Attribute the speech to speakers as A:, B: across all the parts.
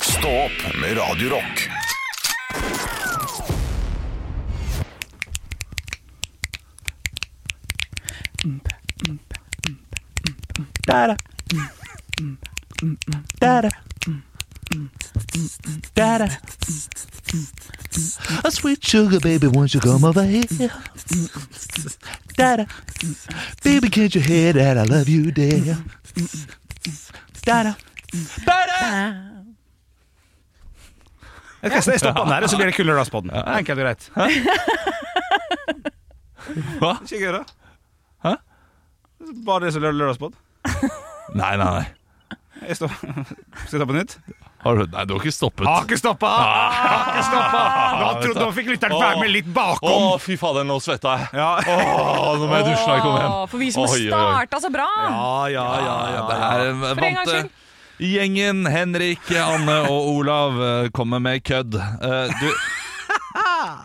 A: Stå opp med Radio Rock.
B: Da-da. Da-da. Da-da.
C: A sweet sugar baby, won't you come over here?
B: Da-da.
C: Baby, can't you hear that I love you, dear?
B: Da-da.
D: Jeg skal stoppe den her, og så blir det kulere på den. Enkelt og greit.
E: Hva?
D: Ikke gøy, da?
E: Hæ?
D: Bare det som er lørdagspod?
E: Nei, nei, nei.
D: Jeg stopp- Skal jeg ta på nytt?
E: Har du, nei, du har ikke stoppet.
D: Har ikke stoppa! Har ikke stoppa! Nå trodde nå fikk lytteren være med litt
E: Å,
D: bakom.
E: fy fader, nå svetta jeg.
D: Ja, ja,
E: Å, nå må jeg dusje når jeg kommer hjem.
F: Åh, For vi som
E: Oi,
F: har
E: oi, oi.
F: starta så bra!
D: ja, ja.
E: Det her
F: For en gangs
E: vant
F: skyld.
E: gjengen. Henrik, Anne og Olav eh, kommer med kødd. Eh,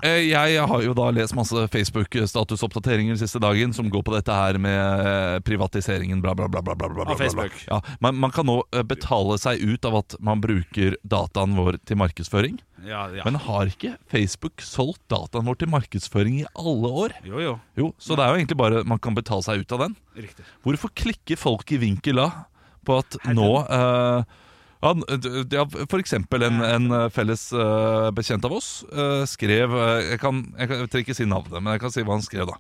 E: Du eh, jeg har jo da lest masse Facebook-statusoppdateringer siste dagen som går på dette her med eh, privatiseringen, bla, bla, bla. bla, bla, bla, bla,
D: Av
E: bla.
D: Facebook.
E: Ja, man, man kan nå eh, betale seg ut av at man bruker dataen vår til markedsføring.
D: ja, ja.
E: Men har ikke Facebook solgt dataen vår til markedsføring i alle år?
D: Jo, jo.
E: Jo, Så det er jo egentlig bare man kan betale seg ut av den.
D: Riktig.
E: Hvorfor klikker folk i vinkel da på at nå eh, ja, n- d- ja, For eksempel en, en eh, felles eh, bekjent av oss eh, skrev eh, jeg, kan, jeg, kan, jeg trenger ikke si navnet, men jeg kan si hva han skrev, da.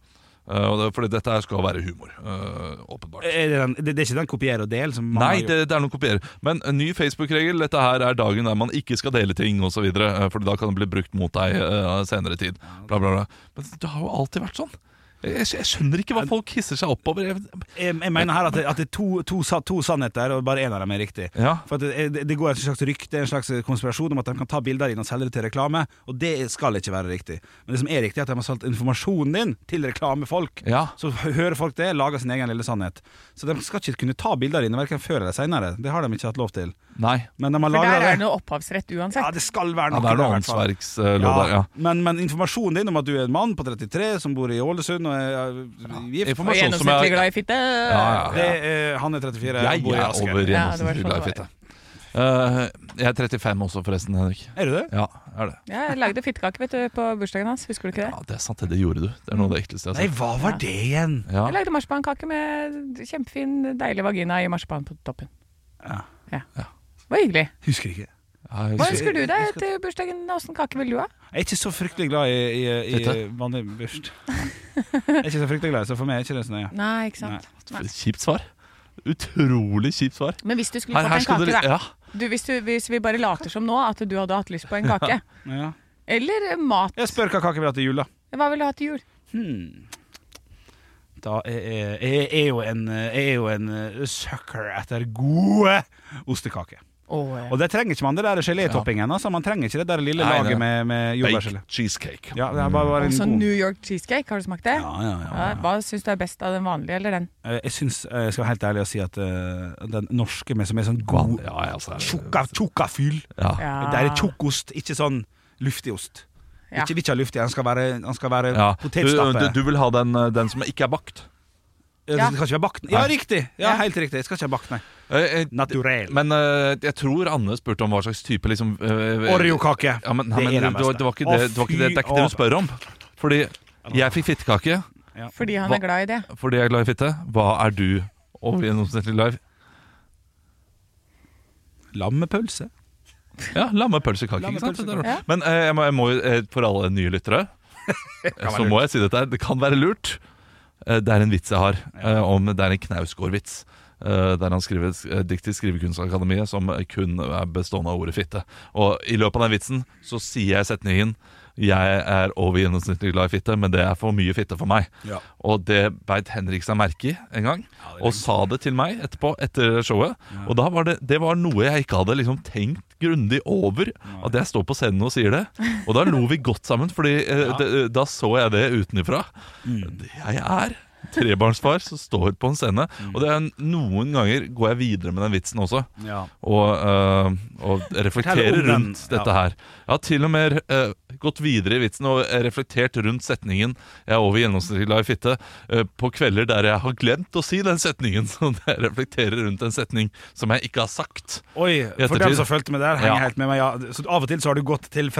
E: Eh, og det- fordi dette her skal være humor. eh, åpenbart.
D: Er det, den, det, det er ikke den kopier og del som
E: Nei, det, det er noen kopier. Men en ny Facebook-regel. Dette her er dagen der man ikke skal dele ting osv. eh, For da kan det bli brukt mot deg eh, senere i tid. Bla, bla, bla. Men det har jo alltid vært sånn. Jeg, jeg skjønner ikke hva folk hisser seg opp over. Jeg-
D: jeg, jeg mener her at det, at det er to, to, sa- to sannheter, og bare én av dem er riktig.
E: Ja.
D: For at det, det- det går et slags rykte, en slags konspirasjon om at de kan ta bilder av dine og selge det til reklame, og det skal ikke være riktig. Men det som er riktig, er at de har solgt informasjonen din til reklamefolk.
E: Ja.
D: Så hø- hører folk det, lager sin egen lille sannhet. Så de skal ikke kunne ta bilder av dine verken før eller seinere. Det har de ikke hatt lov til.
E: Nei.
D: Men de har
F: For der
D: lagra
F: er det
D: det.
F: noe opphavsrett
D: Ja,
F: uansett.
D: det skal være
E: Ja,
D: noe
E: det er
D: der,
E: noe
D: i hvert fall.
E: åndsverkslov
D: Ja,
E: der, ja.
D: Men, men informasjonen din om at du er en mann på 33 som bor i Ålesund og er er gift
F: Og
E: Informasjon som
F: gjennomsnittlig
E: jeg
F: glad i fitte.
E: Ja, ja.
D: det er, eh, Han er 34 og
E: Jeg
D: bor i
E: er
D: Asker.
E: over gjennomsnittlig
F: det var
E: glad i
F: sånn det
E: fitte. Eh, jeg er 35 også, forresten, Henrik.
D: Er du det?
E: Ja, er det.
F: Ja, jeg lagde fittekake vet du, på bursdagen hans. Husker du ikke det?
E: Ja, det er sant, det, det gjorde du. Det er noe av det ekleste
D: Nei,
E: jeg har sett.
D: hva var det igjen?
E: Ja.
F: Jeg lagde marsipankake med kjempefin, deilig vagina i marsipan på toppen.
D: Ja.
F: Ja. Det var hyggelig.
D: Husker ikke.
E: Ja, jeg
F: Hva
E: husker-
F: ønsker du deg til bursdagen? Åssen kake vil du ha?
D: Jeg er ikke så fryktelig glad i, i, i
E: Fitte?
D: vanlig børst. Jeg er ikke så fryktelig glad, så for meg er ikke det så nøye.
F: Nei, ikke sant. Nei.
E: Kjipt svar. Utrolig kjipt svar.
F: Men hvis du skulle
E: Her, her
F: fått
E: skal
F: en kake,
E: dere
F: da.
E: ja.
F: Du, hvis, du, hvis vi bare later som nå at du hadde hatt lyst på en kake.
D: Ja.
F: Eller mat.
D: Jeg spør hva kake vil ha til jul, da.
F: Hva vil du ha til jul?
D: Hmm. Da er, er, jeg er jo en, jeg er jo en eh, sucker etter gode ostekaker.
F: Åh,
D: Og det trenger ikke man, det der gelétoppingen. Altså. Man trenger ikke det der lille
E: Nei, nei.
D: laget med, med jordbærgelé.
E: Baked cheesecake.
D: Ja, det er bare, bare
F: Også
D: en god
F: sånn New York cheesecake, har du smakt det?
D: ja, ja, ja.
F: Ja, Hva syns du er best av den vanlige eller den?
D: Eh, Jeg syns, eh, jeg skal være helt ærlig og si at eh, den norske med som er sånn
E: Ja,
D: god
E: ja, altså,
D: tjukka, tjukka fyll
E: ja.
F: Ja.
D: Det er tjukkost, ikke sånn luftig ost.
F: Ah. Ja.
D: Ikke, vi ikke ha luftig, den skal være, den skal være
E: Ja. Du,
D: potetstappe.
E: du, du vil ha den, eh, den som ikke er bakt?
D: Ja,
F: Ja.
D: den skal ikke være bakt. Ja,
E: Nei.
D: riktig! Ja,
F: Ja.
D: Helt riktig. Jeg skal ikke ha bakt, nei.
E: Eh, eh,
D: Naturell.
E: Men eh, jeg tror Anne spurte om hva slags type liksom, eh,
D: Oreokake.
E: Ja, men, nei, men det, det, var, det var ikke det, det, var ikke det, det er ikke det du spør om. Fordi jeg fikk fittekake
F: Fordi han
E: Hva-
F: er glad i det.
E: fordi jeg er glad i fitte. Hva er du over gjennomsnittlig live?
D: Lammepølse.
E: Ja, lammepølsekake. ikke sant?
D: Lammepølsekake.
F: Ja.
E: Men eh, jeg må, jeg må jo, eh, for alle nye lyttere, så må jeg si dette her. Det kan være lurt. Eh, Det er en vits jeg har, eh, om det er en Knausgård-vits. eh, Der han skriver et eh, dikt til Skrivekunstakademiet som eh, kun er bestående av ordet fitte. Og i løpet av den vitsen så sier jeg setningen jeg er over gjennomsnittlig glad i fitte, men det er for mye fitte for meg.
D: Ja.
E: Og det beit Henrik seg merke i en gang, og sa det til meg etterpå, etter showet. Og da var det, det var noe jeg ikke hadde liksom tenkt grundig over, at jeg står på scenen og sier det.
D: Mm.
E: Og da lo vi godt sammen, Fordi eh, det, da så jeg det utenifra. Jeg er trebarnsfar som står på en scene. Og det er noen ganger går jeg videre med den vitsen også.
D: Ja.
E: Og, øh, og
D: Fortell
E: reflektere
D: om den,
E: rundt
D: ja.
E: dette her. Jeg har til og med øh, gått videre i vitsen og reflektert rundt setningen 'Jeg er over gjennomsnittlig glad i fitte' øh, på kvelder der jeg har glemt å si den setningen. Så jeg reflekterer rundt en setning som jeg ikke har sagt.
D: Oi, for
E: ettertid.
D: dem som fulgte med der, henger
E: Ja.
D: helt med meg. Ja. Så av og til så har du gått til eh,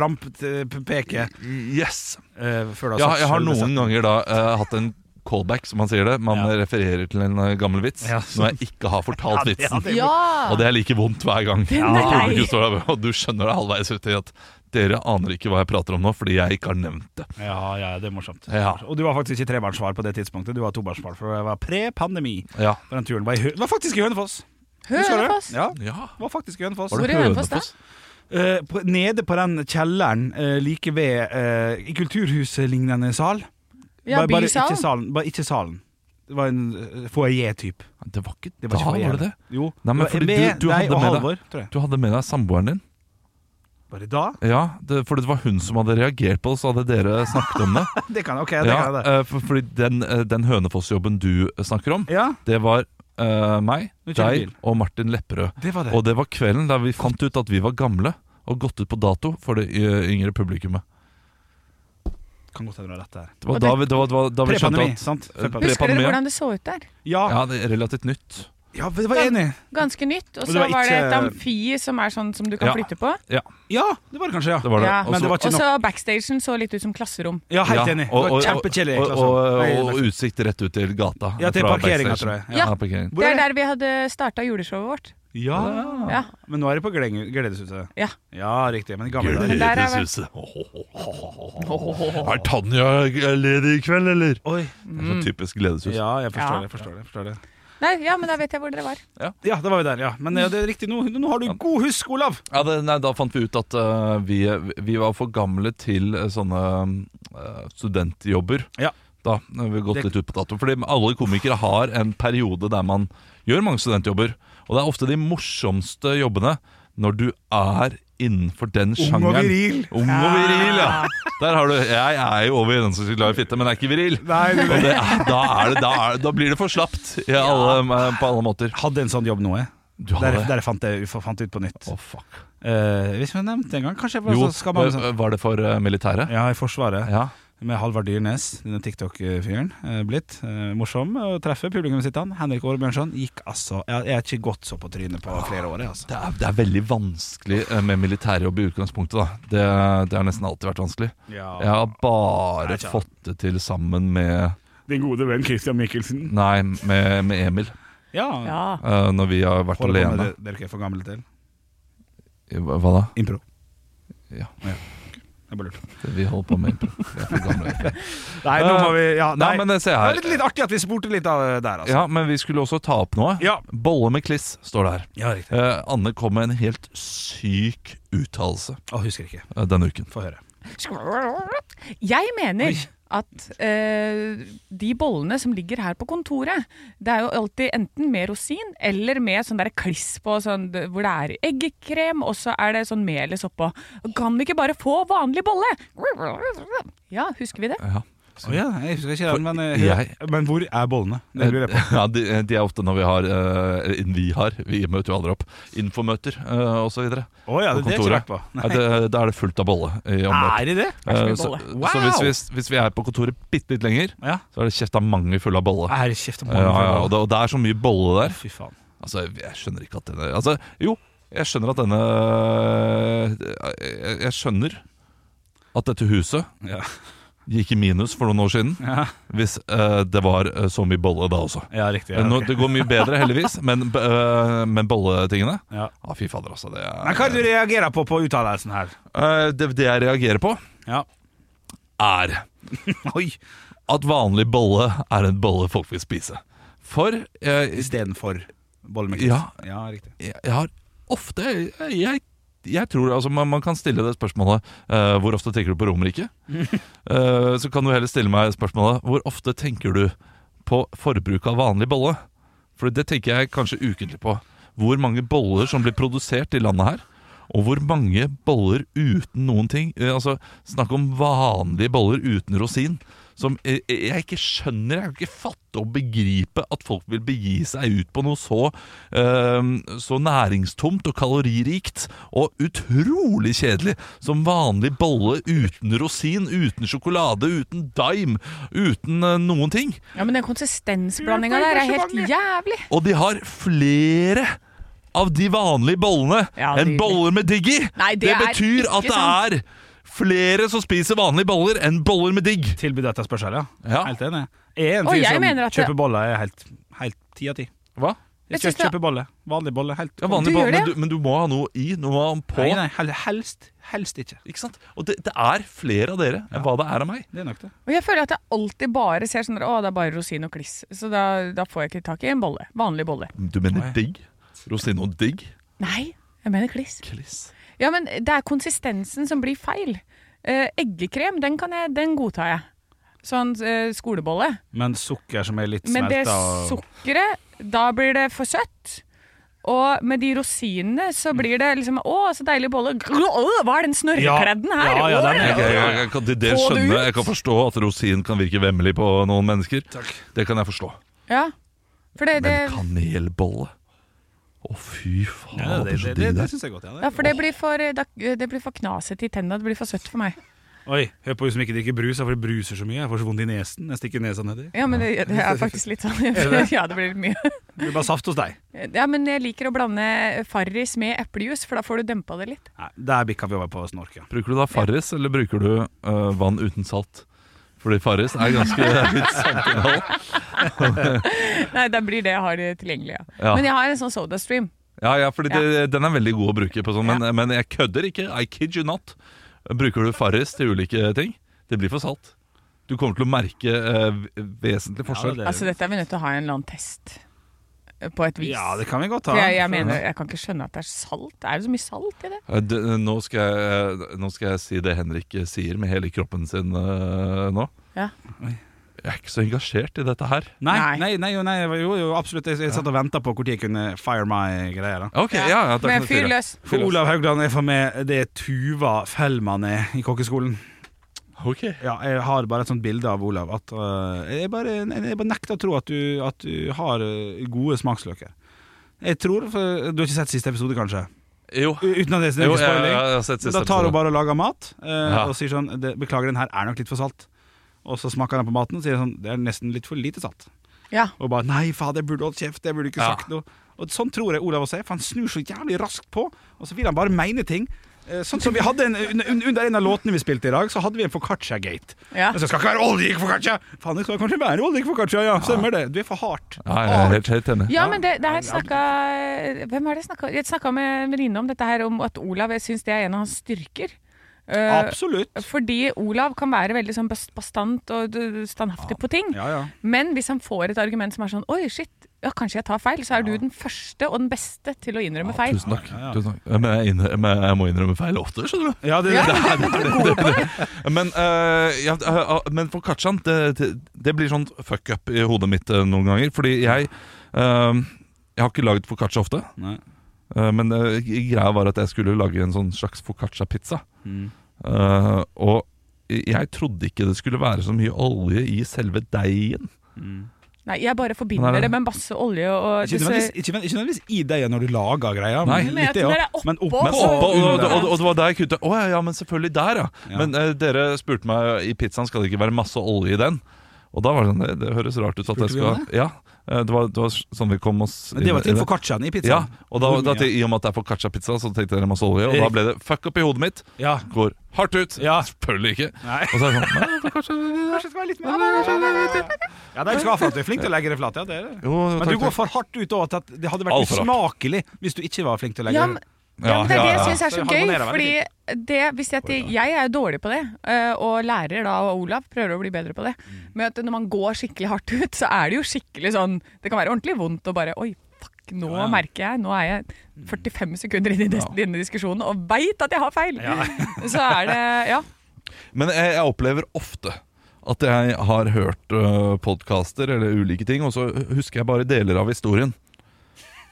D: frampeket
E: Yes!
D: uh, før du har
E: Ja,
D: sagt
E: jeg har
D: selve
E: noen
D: setningen.
E: ganger da øh, hatt en callback, som man sier det. Man
D: Ja.
E: refererer til en øh, gammel vits
D: Ja.
E: når jeg ikke har fortalt
D: Ja, det- ja,
E: vitsen.
D: det-
F: Ja!
E: Og det er like vondt hver gang.
F: Ja.
E: Når publikum står der, Og du skjønner det halvveis uti at dere aner ikke hva jeg prater om nå, fordi jeg ikke har nevnt det.
D: ja, ja, det er morsomt.
E: Ja.
D: Og du var faktisk ikke trebarnsfar på det tidspunktet, du var tobarnsfar, for det var pre-pandemi.
E: Ja.
D: på Den turen var, i Hø det var faktisk i Hønefoss. Husker du det?
F: Hønefoss!
D: Ja,
E: ja.
D: det var faktisk i Hønefoss.
E: Var
F: Hvor
E: det
F: er Hønefoss da?
E: Hønefoss?
D: Eh, på, nede på den kjelleren eh, like ved eh, I kulturhuslignende sal.
F: Ja,
D: bare, bare ikke
F: Bysalen.
D: salen. Bare ikke salen. Det var en uh, foajé-type.
E: Det var ikke
D: Det
E: da,
D: var ikke foajé.
E: var det det?
D: Jo.
E: Nei, men
D: det var
E: fordi
D: med
E: du- du hadde
D: deg og
E: med deg-
D: Halvor, tror jeg.
E: Du hadde med deg samboeren din?
D: Var det da?
E: Ja, det, for det var hun som hadde reagert på det, så hadde dere snakket om det.
D: Det kan ok, det
E: Ja,
D: kan jeg det.
E: eh, for, fordi den, eh, den Hønefoss-jobben du eh, snakker om,
D: Ja,
E: det var eh, meg,
D: Nå kjører
E: deg
D: bil.
E: og Martin Lepperød.
D: det var det.
E: Og det var kvelden der vi fant ut at vi var gamle og gått ut på dato for det eh, yngre publikummet.
D: kan godt hende du har rett der.
E: Det var
F: Og
E: da vi, det var, det var, da vi skjønte
D: Pre-pandemi,
E: at
D: sånn sant?
E: eh,
D: Før
F: Husker dere
E: Pre-pandemi, ja.
F: hvordan det så ut der?
D: Ja,
E: Ja, det er relativt nytt.
D: ja, det var jeg enig. i.
F: Ganske nytt. Og
D: det
F: så
D: var
F: var det et
D: ikke-
F: amfi som er sånn som du kan
E: Ja.
F: flytte på.
D: Ja, det var det kanskje, ja.
E: Det var det.
F: Ja,
E: Og
D: Men det
E: så-
D: var ikke
F: Og
D: nok.
F: så backstagen så litt ut som klasserom.
D: Ja, helt
E: Ja,
D: enig.
E: og-
D: Det var
E: og-
D: kjempekjedelig.
E: og,
D: klasse.
E: og,
D: Nei,
E: og, og utsikt rett ut til gata.
D: Ja, til
E: fra
D: parkeringa,
E: backstage.
D: tror jeg.
F: Ja.
E: Ja, parkering.
D: Hvor
F: Det
D: er
F: er der vi hadde starta juleshowet vårt.
D: Ja.
F: Ja.
D: Men nå er det på Gleng- Gledeshuset.
F: Ja.
D: ja, riktig. Men i gamle dager.
F: Men der er vel-
E: Er Tanja ledig i kveld, eller?
D: Oi.
E: Det er så typisk gledeshus.
D: Ja, jeg forstår
F: Ja.
D: det. forstår det, forstår det
F: Mm. Nei, ja, men da vet jeg hvor dere var.
D: Ja, da var vi der, ja. Men ja, det er riktig, nå, nå har du god husk, Olav!
E: Ja, det, nei, da fant vi ut at eh, vi, vi var for gamle til eh, sånne eh, studentjobber.
D: Ja.
E: Da har vi gått
D: Det-
E: litt ut på dato. Fordi alle komikere har en periode der man gjør mange studentjobber. Og det er ofte de morsomste jobbene når du er innenfor den sjangeren.
D: viril.
E: Ung og viril, ja. Der har du, jeg er jo over gjennomsnittlig glad i fitte, men jeg er ikke viril.
D: Nei, du,
E: Og det, er- da, er det, da, er, da blir det for slapt i alle, eh, på alle måter.
D: hadde en sånn jobb nå, jeg.
E: Du har
D: Der,
E: det.
D: der jeg fant jeg fant ut på nytt.
E: Å, fuck.
D: Eh, hvis vi nevnte en gang, kanskje jeg bare
E: Jo,
D: så skal man,
E: var det for eh, militæret?
D: Ja, i Forsvaret.
E: Ja.
D: Med Halvard Dyrnes, denne TikTok-fyren. eh, blitt eh, morsom å treffe publikum sitt. Han Henrik Årebjørnson gikk altså Jeg jeg har ikke gått så på trynet
E: Ah.
D: på flere år, jeg, altså.
E: Det er, det er veldig vanskelig eh, med militærjobb i utgangspunktet. Da. Det, det har nesten alltid vært vanskelig. Jeg har bare
D: Nei, tja.
E: fått det til sammen med
D: Din gode venn Christian Michelsen.
E: Nei, med, med Emil,
D: Ja.
F: Ja.
E: eh, når vi har vært
D: Holder på med
E: alene.
D: det dere ikke er for gamle til.
E: Hva hva da?
D: Impro.
E: Ja.
D: Jeg bare lurte.
E: Vi holder på med impro. Vi er for gamle.
D: Nei, nå må vi ja,
E: Nei, men eh, se
D: Det
E: her.
D: er litt, litt artig at vi spurte litt av det der, altså.
E: Ja, men vi skulle også ta opp noe.
D: Ja.
E: Bolle med kliss, står det her.
D: riktig.
E: Eh, Anne kom med en helt syk uttalelse
D: Å, husker ikke.
E: eh, denne uken.
D: Få høre.
F: Jeg mener at eh, de bollene som ligger her på kontoret, det er jo alltid enten med rosin eller med sånn der kliss på, sånn, d- hvor det er eggekrem, og så er det sånn melis oppå. Kan vi ikke bare få vanlig bolle? Ja, husker vi det?
E: Ja.
D: Å ja, jeg husker ikke den, men, eh,
E: jeg-
D: hør- men hvor er bollene? Det lurer jeg på.
E: Eh, Ja, de, de er ofte når vi har eh, eller Vi har, vi møter jo aldri opp. Infomøter eh, og så videre.
D: Å ja,
E: På
D: det, det har jeg ikke
E: kontoret.
D: vært på.
E: Ja, det, da er det fullt av bolle i omløp.
D: Er det Ah, det?
F: Er det
E: Eh,
F: så mye
E: så,
F: bolle?
E: så hvis,
D: Wow!
E: vi, hvis vi er på kontoret bitte litt lenger,
D: Ja. Ah,
E: så er det kjeftamange fulle av bolle.
D: Er det kjeft om
E: Ja, ja, og, det, og det er så mye bolle der.
D: Fy faen.
E: Altså, jeg skjønner ikke at denne Altså, jo, jeg skjønner at denne Jeg, jeg skjønner at dette huset
D: Ja.
E: gikk i minus for noen år siden
D: Ja,
E: hvis eh, det var eh, så mye bolle da også.
D: ja riktig. Ja,
E: Eh, Nå,
D: ok.
E: det går mye bedre, heldigvis, men, b- eh, men bolletingene
D: ja.
E: Ja, fy fader, altså. Det er,
D: Men hva er det du reagerer på på uttalelsen her?
E: Eh, det, det jeg reagerer på,
D: Ja.
E: er
D: Oi.
E: at vanlig bolle er en bolle folk vil spise. For eh,
D: Istedenfor bolle med
E: Ja.
D: kjeks. Ja, riktig.
E: jeg, jeg har ofte jeg, jeg, jeg tror, altså man, man kan stille det spørsmålet eh, Hvor ofte tenker du på Romerike? Eh, så kan du heller stille meg spørsmålet Hvor ofte tenker du på forbruk av vanlig bolle? For det tenker jeg kanskje ukentlig på Hvor mange boller som blir produsert i landet her Og hvor mange boller uten noen ting eh, Altså, Snakk om vanlige boller uten rosin. Som eh, jeg ikke skjønner. Jeg kan ikke fatte og begripe at folk vil begi seg ut på noe så, eh, så næringstomt og kaloririkt og utrolig kjedelig som vanlig bolle uten rosin, uten sjokolade, uten dime, uten eh, noen ting.
F: Ja, men den konsistensblandinga der er helt jævlig.
E: Og de har flere av de vanlige bollene
F: Ja,
E: enn
F: nydelig.
E: boller med digg i.
F: Nei, det er
E: betyr
F: ikke
E: at det
F: sant.
E: er flere som spiser vanlige boller enn boller med digg.
D: Tilbudet etter spørsmål, ja.
E: Ja.
D: Helt enig. Jeg er en
F: Og
D: fyr
F: jeg
D: som
F: mener at det-
D: kjøper boller er helt, helt ti av ti.
E: Hva?
F: Jeg
D: Jeg skal
F: synes det-
D: kjøpe boller. Vanlig bolle. Helt
E: Ja, vanlige
F: Du gjør
E: boller,
F: det,
E: men, du, men du må ha noe i, noe på.
D: Nei, nei, hel- helst, helst ikke.
E: Ikke sant? Og det, det er flere av dere enn hva det er av meg.
D: Det er nok det.
F: Og jeg føler at jeg alltid bare ser sånn der, Å, det er bare rosin og kliss. Så da, da får jeg ikke tak i en bolle. Vanlig bolle.
E: Du mener digg? Rosin og digg?
F: Nei, jeg mener kliss.
E: Kliss.
F: Ja, men det er konsistensen som blir feil. Eh, eggekrem, den, kan jeg, den godtar jeg. Sånn eh, skolebolle.
D: Men sukker som er litt
F: Men det
D: smelta og
F: sukkeret, da blir det for søtt. Og med de rosinene så blir det liksom Å, så deilig bolle. Grr, Hva er den snørrekledden her?
D: Ja, ja, den er-
E: Jeg, jeg, jeg, jeg kan til det
F: Få det
E: skjønne
F: ut.
E: Jeg kan forstå at rosin kan virke vemmelig på noen mennesker. Det kan jeg forstå.
F: ja. For det, det,
E: Men kanelbolle? Å, fy faen.
D: ja, Det,
E: er så
D: det, det,
E: digg
D: det
E: det er.
D: syns jeg godt. Ja,
F: ja,
D: det.
F: for det blir for, eh, da- det blir for knaset i tennene. Det blir for søtt for meg.
D: Oi, hør på hun som ikke drikker brus, for det bruser så mye. Jeg får så vondt i nesen. Jeg stikker nesa nedi.
F: Ja, men det, det er faktisk litt sånn. Ja, det blir litt mye.
D: Det blir bare saft hos deg.
F: Ja, men jeg liker å blande Farris med eplejus, for da får du dempa det litt.
D: Nei, der bikka vi over på snork, ja.
E: Bruker du da Farris, eller bruker du øh, vann uten salt? Fordi Farris er ganske litt saltinnhold.
F: Nei, da blir det jeg har tilgjengelig, ja.
E: Ja.
F: Men jeg har en sånn SodaStream.
E: Ja, ja, fordi det, den er veldig god å bruke på sånn, men, men jeg kødder ikke. I kid you not. Bruker du Farris til ulike ting? Det blir for salt. Du kommer til å merke øh, vesentlig
D: Ja,
E: forskjell.
D: det,
F: Altså, dette er vi nødt til å ha en eller annen test. eh, På et vis.
D: ja, det kan vi godt ta.
F: For jeg, jeg mener, jeg kan ikke skjønne at det er salt. Er det så mye salt i det?
E: Eh, d- nå, skal jeg, eh, nå skal jeg si det Henrik eh, sier med hele kroppen sin øh, nå.
F: Ja.
E: Jeg er ikke så engasjert i dette her.
D: Nei,
F: Nei.
D: nei, nei, jo, nei jo, jo, absolutt. Jeg, jeg satt og venta på når jeg kunne fire my greier. da
E: Ok, ja, ja, da kan
F: Men
E: du si
F: fyr
E: det.
F: løs.
D: For Olav Haugland er for meg det Tuva Fellmann er i kokkeskolen.
E: Ok.
D: Ja, jeg har bare et sånt bilde av Olav. At, øh, jeg, bare, jeg bare nekter å tro at du, at du har øh, gode smaksløker. Jeg tror, for Du har ikke sett siste episode, kanskje?
E: Jo.
D: U- Uten at det det er
E: Jo, jeg,
D: ikke
E: jeg,
D: spoiling.
E: jeg har sett
D: Men
E: siste
D: da tar
E: episode.
D: hun bare og lager mat øh,
E: Ja.
D: og sier sånn det, 'Beklager, den her er nok litt for salt'. Og så smaker han på maten og sier sånn 'Det er nesten litt for lite salt'.
F: Ja.
D: Og bare 'Nei, faen, jeg burde holdt kjeft', jeg burde ikke
E: Ja.
D: sagt noe. Og Sånn tror jeg Olav også er, for han snur så jævlig raskt på, og så vil han bare mene ting. Eh, Sånn som vi hadde en, un- un- Under en av låtene vi spilte i dag, så hadde vi en Foccaccia-gate.
F: Ja.
D: Altså, skal ikke være olje i foccaccia! Faen, det skal kanskje være olje i foccaccia, ja. Stemmer det. Du er for hardt.
E: Ja, jeg er helt, helt enig.
F: Ja, men det, det her snakka Hvem er det jeg snakka Jeg snakka med en venninne om dette her, om at Olav Jeg syns det er en av hans styrker. Eh,
D: Absolutt.
F: fordi Olav kan være veldig sånn bas- bastant og d- standhaftig på ting.
D: Ja, ja.
F: Men hvis han får et argument som er sånn Oi, shit, ja, kanskje jeg tar feil, så er du den første og den beste til å innrømme feil.
E: Tusen takk. Tusen takk. Men, jeg innrø- men jeg må innrømme feil ofte, skjønner du.
D: Ja, det,
F: Ja,
D: det,
F: men det er du god på.
E: Men, uh, ja, eh, men for Katsjan, det, det, det blir sånn fuck up i hodet mitt eh, noen ganger. Fordi jeg eh, Jeg har ikke lagd foccaccia ofte.
D: Nei.
E: Eh, men eh, greia var at jeg skulle lage en sånn slags foccaccia-pizza.
D: Mm.
E: Eh, og jeg trodde ikke det skulle være så mye olje i selve deigen.
F: Nei, jeg bare
E: Nei,
F: forbinder
E: nei.
F: det med masse olje og
D: Mm. Ikke nødvendigvis, ikke, nødvendigvis- ikke nødvendigvis i deg når du lager greia,
E: Nei.
D: men
F: Men jeg
D: litt det
F: tror det
D: òg.
F: er oppå.
D: Men oppå.
E: Men
F: Åh,
E: oppå, og, og,
D: under.
E: og, og det var der jeg kutta. Å ja, ja, men selvfølgelig der, ja.
D: Ja.
E: Men eh, dere spurte meg i pizzaen skal det ikke være masse olje i den. Og da var det sånn Det, det høres rart ut at jeg
D: Spurte vi om
E: skal Ja, eh, det var, det var sånn vi kom oss
D: Men det var
E: inn
D: til
E: i det.
D: foccacciaen i
E: Ja,
D: pizzaen.
E: og da, da, til- I og med at det er foccaccia-pizza, så tenkte jeg masse olje. Og da ble det fuck up i hodet mitt.
D: Ja.
E: Går hardt ut.
D: Ja.
E: Selvfølgelig ikke.
D: Nei.
E: Og så er det sånn nei, foccaccia-
D: Kanskje det skal være litt mer Ja, de skal ha for at du er flink til å legge det flat. Ja, det er det.
E: Jo,
D: Men
E: takk,
D: du går
E: takk.
D: for hardt ut òg. at Det hadde
E: Alt
D: vært
E: for hardt.
D: usmakelig hvis du ikke var flink til å legge
F: Ja,
D: det
F: men, ja, men det er
E: Ja,
F: det
E: ja,
F: jeg
E: ja.
F: syns er så
D: Så det
F: gøy.
D: harmonerer veldig
F: Fordi det, hvis jeg, til- jeg er jo dårlig på det, eh, og lærer da, og Olav prøver å bli bedre på det.
E: Mm.
F: Men at når man går skikkelig hardt ut, så er det jo skikkelig sånn Det kan være ordentlig vondt å bare Oi, fuck, nå merker jeg Nå er jeg
E: Mm.
F: 45 sekunder inn i dis- denne diskusjonen og veit at jeg har feil! så er det Ja.
E: Men jeg, jeg opplever ofte at jeg har hørt øh, podkaster eller ulike ting, og så husker jeg bare deler av historien.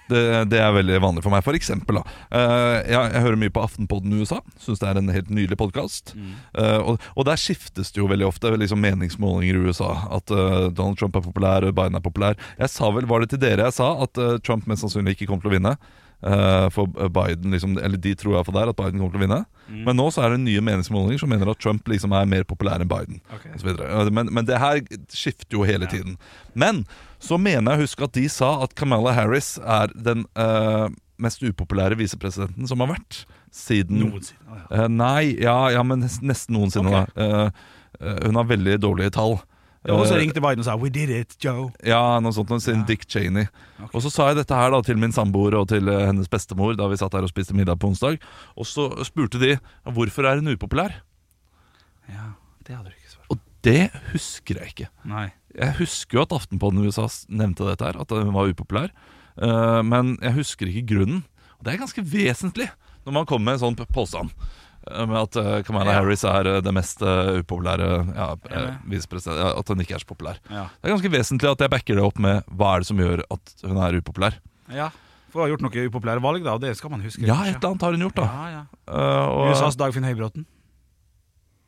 E: Det, det er veldig vanlig for meg. For eksempel, da. eh, jeg, jeg hører mye på Aftenpodden i USA. Syns det er en helt nydelig podkast. og, og der skiftes det jo veldig ofte liksom meningsmålinger i USA. At eh, Donald Trump er populær, og Biden er populær. Jeg sa vel, Var det til dere jeg sa at eh, Trump mest sannsynlig ikke kommer til å vinne? Eh, for Biden, liksom, eller De tror iallfall der at Biden kommer til å vinne. Mm. Men nå så er det nye meningsmålinger som mener at Trump liksom er mer populær enn Biden. og så videre. Eh, Men, men det her skifter jo hele tiden. Men så mener jeg å huske at de sa at Kamala Harris er den eh, mest upopulære visepresidenten som har vært siden
D: Noensinne. Å, ja.
E: Eh, nei, ja, ja, men nes- nesten noensinne. da. Eh, eh, hun har veldig dårlige tall.
D: Det var også
E: Eh,
D: ringte Biden og sa 'We did it, Joe'.
E: ja, noe sånt, noe, siden
D: Ja.
E: Dick Cheney. Og så sa jeg dette her da til min samboer og til eh, hennes bestemor da vi satt her og spiste middag på onsdag. Og så spurte de hvorfor er hun upopulær.
D: Ja, det hadde du ikke svart.
E: Og det husker jeg ikke.
D: Nei.
E: Jeg husker jo at Aftenpåden i USA s- nevnte dette her, at hun var upopulær. Eh, men jeg husker ikke grunnen. Og det er ganske vesentlig når man kommer med en sånn p- påstand. eh, Med at eh, Kamala
D: Ja.
E: Harris er eh, det mest eh, upopulære ja, eh,
D: Enig.
E: visepresident. ja, At hun ikke er så populær.
D: Ja.
E: Det er ganske vesentlig at jeg backer det opp med hva er det som gjør at hun er upopulær.
D: ja. For hun har gjort noen upopulære valg, da, og det skal man huske.
E: Ja,
D: kanskje.
E: et eller annet har hun gjort, da.
D: Ja, ja.
E: Eh, og-
D: USAs Dagfinn Høybråten.